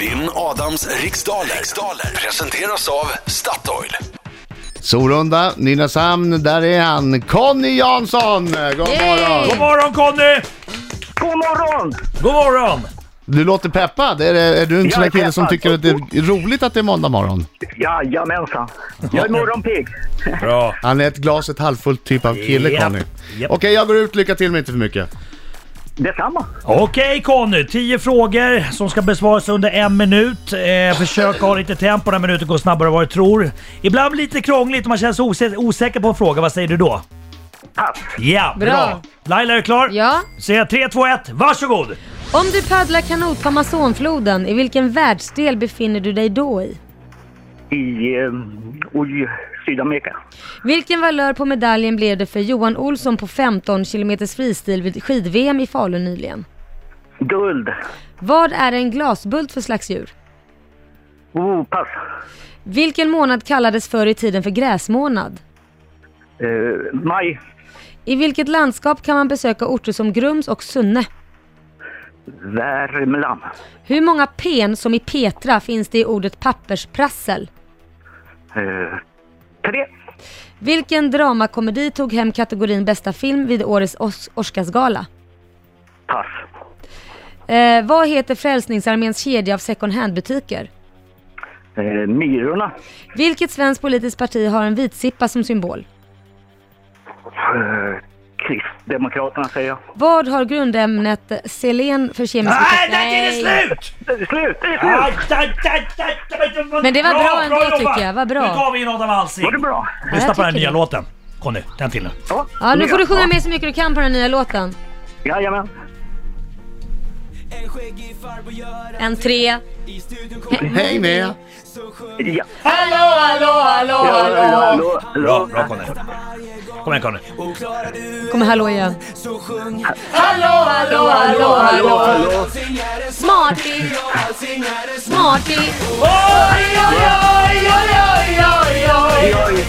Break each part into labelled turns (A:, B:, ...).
A: Vinn Adams riksdaler. riksdaler presenteras av Statoil.
B: Sorunda, Nynäshamn, där är han. Conny Jansson! Eh, God
C: Yay!
B: morgon!
D: God morgon Conny!
E: God morgon!
D: God morgon!
B: Du låter peppad. Är, det, är du en sån där
E: Jag är
B: kille som
E: peppad.
B: tycker att det är roligt att det är måndag morgon?
E: Jajamensan. Jag är morgonpigg.
D: Bra.
B: Han är ett glas ett halvfullt typ av kille,
D: Japp,
B: Conny.
D: japp.
B: Okej, jag går ut. Lycka till men inte för mycket.
E: Detsamma.
D: Okej Conny, 10 frågor som ska besvaras under en minut. Eh, försök ha lite tempo när minuten går snabbare än vad du tror. Ibland blir det lite krångligt om man känner sig osä- osäker på en fråga. Vad säger du då?
E: Pass.
D: Ja, bra.
C: Bra.
D: Laila, är du klar?
C: Ja.
D: Säger jag 3, 2, 1, varsågod!
C: Om du paddlar kanot på Amazonfloden, i vilken världsdel befinner du dig då i?
E: I eh, oj, Sydamerika.
C: Vilken valör på medaljen blev det för Johan Olsson på 15 km fristil vid skid-VM i Falun nyligen?
E: Guld.
C: Vad är en glasbult för slags djur?
E: Oh, pass.
C: Vilken månad kallades förr i tiden för gräsmånad?
E: Eh, maj.
C: I vilket landskap kan man besöka orter som Grums och Sunne?
E: Värmland.
C: Hur många pen som i Petra finns det i ordet pappersprassel?
E: Eh, tre.
C: Vilken dramakomedi tog hem kategorin bästa film vid årets Os- Oscarsgala?
E: Pass.
C: Eh, vad heter Frälsningsarméns kedja av second hand-butiker?
E: Eh, Myrorna.
C: Vilket svenskt politiskt parti har en vitsippa som symbol?
E: Eh, Kristdemokraterna säger jag.
C: Vad har grundämnet selen för kemisk
D: Nej,
C: beteckning?
D: där är det slut!
E: Eh, Slut! Det är
D: Aj,
E: slut!
D: aj, aj, aj, aj.
C: Men det var bra ändå,
D: jobbat.
C: tycker jag. Vad bra.
D: Nu gav vi in Adam Alsing.
E: Var det bra?
D: Lyssna
C: Jag
D: på den
C: tycker
D: nya
C: det.
D: låten. Conny, den till nu.
C: Ja, nu får du sjunga
E: Ja.
C: med så mycket du kan på den nya låten.
E: Jajamän.
F: En skäggig farbror gör
C: En tre.
F: att i studion kommer
B: Häng med!
F: så sjunger
E: Ja.
C: Hallå, hallå, hallå,
E: Hallå,
D: Bra,
E: hallå.
D: bra Conny.
F: varje gång
D: Kom igen Conny.
F: och klarar du
C: Kommer hallå igen.
F: så sjung
C: Hallå, hallå, hallå,
E: hallå.
F: Allting är en smak
C: Smarty,
F: och allting är en smak
C: smarty.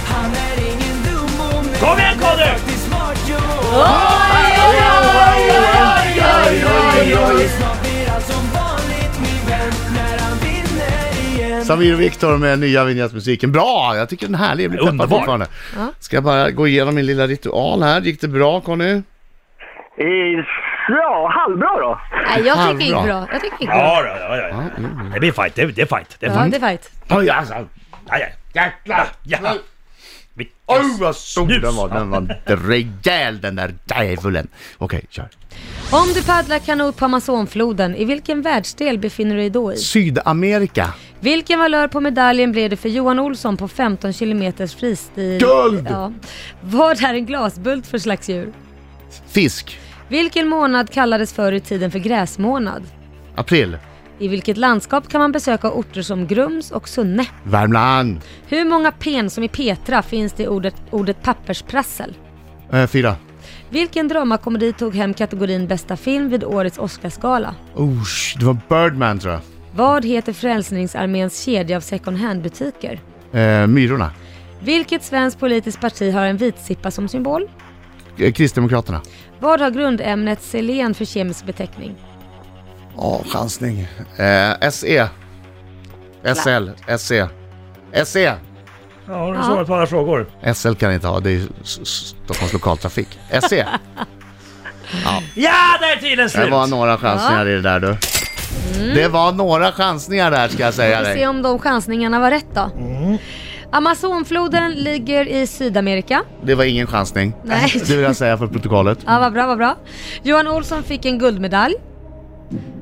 F: Han är ingen dum och med
D: Kom igen Conny!
F: faktiskt smart jo Snart blir allt som vanligt min vän när han vinner igen
B: Samir och Viktor med nya vignettmusiken. Bra! Jag tycker den är härlig. Jag blir peppad
D: Underbar.
B: fortfarande. Ska jag bara gå igenom min lilla ritual här. Gick det bra Conny?
E: Eh, Ja, halvbra då.
C: Nej, jag tycker det gick
B: Halvbra.
C: bra. Jag tycker det gick bra.
D: Ja, då, ja, ja, ja. Det blir fight. Det det är fight. Det är
C: Ja,
D: fight.
C: det är fight.
B: Oj, alltså.
D: Ja, ja.
B: Jäklar!
D: Ja.
B: Oj, vad stor
D: Snus.
B: den var. Den var rejäl den där djävulen. Okej, kör.
C: Om du paddlar kanot på Amazonfloden, i vilken världsdel befinner du dig då i?
B: Sydamerika.
C: Vilken valör på medaljen blev det för Johan Olsson på 15 km fristil?
B: Guld!
C: Ja. Vad är en glasbult för slags djur?
B: Fisk.
C: Vilken månad kallades förr i tiden för gräsmånad?
B: April.
C: I vilket landskap kan man besöka orter som Grums och Sunne?
B: Värmland.
C: Hur många pen som i Petra finns det i ordet, ordet pappersprassel?
B: Eh, fyra.
C: Vilken dramakomedi tog hem kategorin bästa film vid årets Oscarsgala?
B: Oh, sh- det var Birdman tror jag.
C: Vad heter Frälsningsarméns kedja av second hand-butiker?
B: Eh, myrorna.
C: Vilket svenskt politiskt parti har en vitsippa som symbol?
B: Eh, Kristdemokraterna.
C: Vad har grundämnet selen för kemisk beteckning?
B: Ja, chansning. Eh, SE. SL. SE. SE.
D: Ja, har du
C: Ja.
D: svarat på alla frågor?
B: SL E. kan jag inte ha, det är ju S- S- Stockholms lokaltrafik. SE.
D: Ja, där är tiden slut!
B: Det var några chansningar i det där du. Det var några chansningar där ska jag säga
C: Mm. Vi får se
B: dig.
C: om de chansningarna var rätt då. Amazonfloden ligger i Sydamerika.
B: Det var ingen chansning.
C: Nej.
B: Det vill jag säga för protokollet.
C: Ja, vad bra, vad bra. Johan Olsson fick en guldmedalj.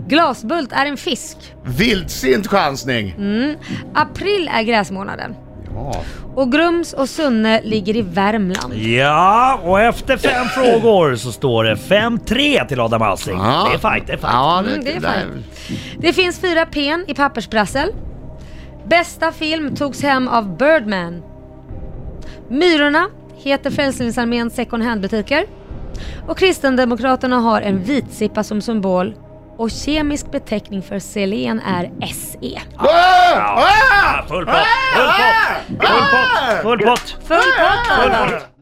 C: Glasbult är en fisk.
B: Vildsint chansning.
C: Mm. April är gräsmånaden.
B: Ja.
C: Och Grums och Sunne ligger i Värmland.
D: Ja, och efter fem frågor så står det 5-3 till Adam Alsing.
B: Ja.
D: Det är fight, det är fight.
B: Ja, det,
C: Mm, det är
B: där-
C: Det finns fyra pen i pappersprassel. Bästa film togs hem av Birdman. Myrorna heter Frälsningsarméns second hand-butiker. Och Kristdemokraterna har en vitsippa som symbol. Och kemisk beteckning för selen är E. SE.
B: Ah! Ah!
D: Full pott, full pott, full pott, full pott.
C: Full pott! Adam.